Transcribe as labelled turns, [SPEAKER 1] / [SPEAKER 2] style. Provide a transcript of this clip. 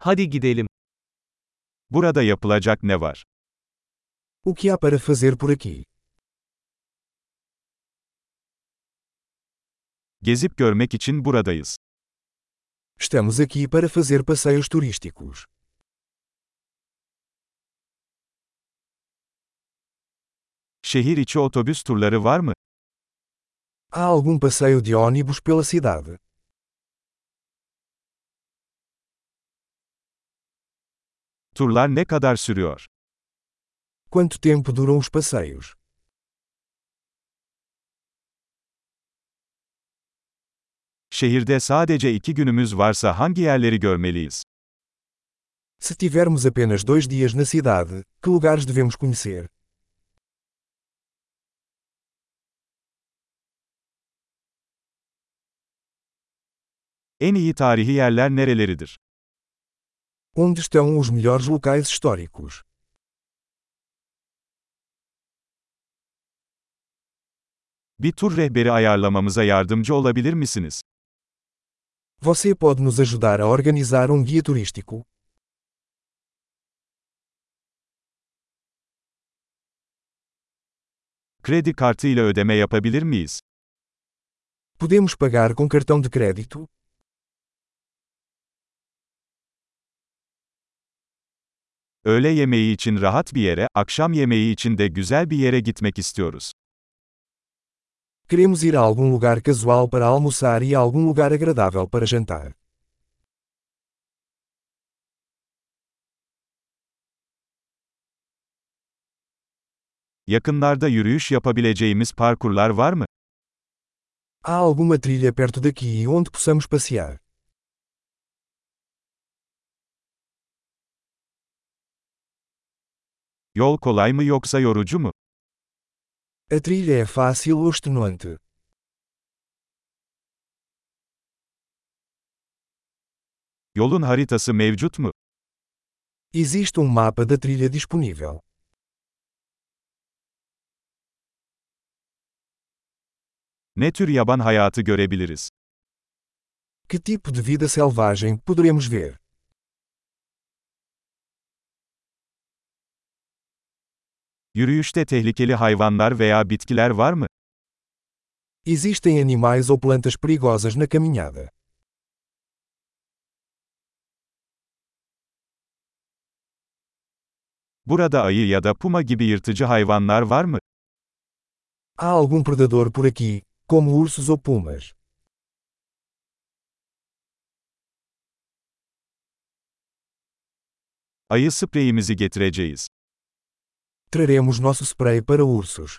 [SPEAKER 1] Hadi gidelim.
[SPEAKER 2] Burada yapılacak ne var?
[SPEAKER 3] O que há para fazer por aqui?
[SPEAKER 2] Gezip görmek için buradayız.
[SPEAKER 3] Estamos aqui para fazer passeios turísticos.
[SPEAKER 2] Şehir içi otobüs turları var mı?
[SPEAKER 3] Há algum passeio de ônibus pela cidade?
[SPEAKER 2] Turlar ne kadar sürüyor?
[SPEAKER 3] Quanto tempo duram os passeios?
[SPEAKER 2] Şehirde sadece iki günümüz varsa hangi yerleri görmeliyiz?
[SPEAKER 3] Se tivermos apenas dois dias na cidade, que lugares devemos conhecer?
[SPEAKER 2] En iyi tarihi yerler nereleridir?
[SPEAKER 3] Onde estão os melhores locais históricos?
[SPEAKER 2] Bir tur rehberi ayarlamamıza yardımcı olabilir misiniz?
[SPEAKER 3] Você pode nos ajudar a organizar um guia turístico?
[SPEAKER 2] Kredi kartı ile ödeme yapabilir miyiz?
[SPEAKER 3] Podemos pagar com cartão de crédito?
[SPEAKER 2] Öğle yemeği için rahat bir yere, akşam yemeği için de güzel bir yere gitmek istiyoruz.
[SPEAKER 3] Queremos ir a algum lugar casual para almoçar e a algum lugar agradável para jantar.
[SPEAKER 2] Yakınlarda yürüyüş yapabileceğimiz parkurlar var mı?
[SPEAKER 3] Há alguma trilha perto daqui onde possamos passear?
[SPEAKER 2] Yol kolay mı yoksa yorucu mu?
[SPEAKER 3] A trilha é fácil ou extenuante?
[SPEAKER 2] Yolun haritası mevcut mu?
[SPEAKER 3] Existe um mapa da trilha disponível.
[SPEAKER 2] Ne tür yaban hayatı görebiliriz?
[SPEAKER 3] Que tipo de vida selvagem poderemos ver?
[SPEAKER 2] Yürüyüşte tehlikeli hayvanlar veya bitkiler var mı?
[SPEAKER 3] Existem animais ou plantas perigosas na caminhada?
[SPEAKER 2] Burada ayı ya da puma gibi yırtıcı hayvanlar var mı?
[SPEAKER 3] Há algum predador por aqui, como ursos ou pumas?
[SPEAKER 2] Ayı spreyimizi getireceğiz.
[SPEAKER 3] Traremos nosso spray para ursos.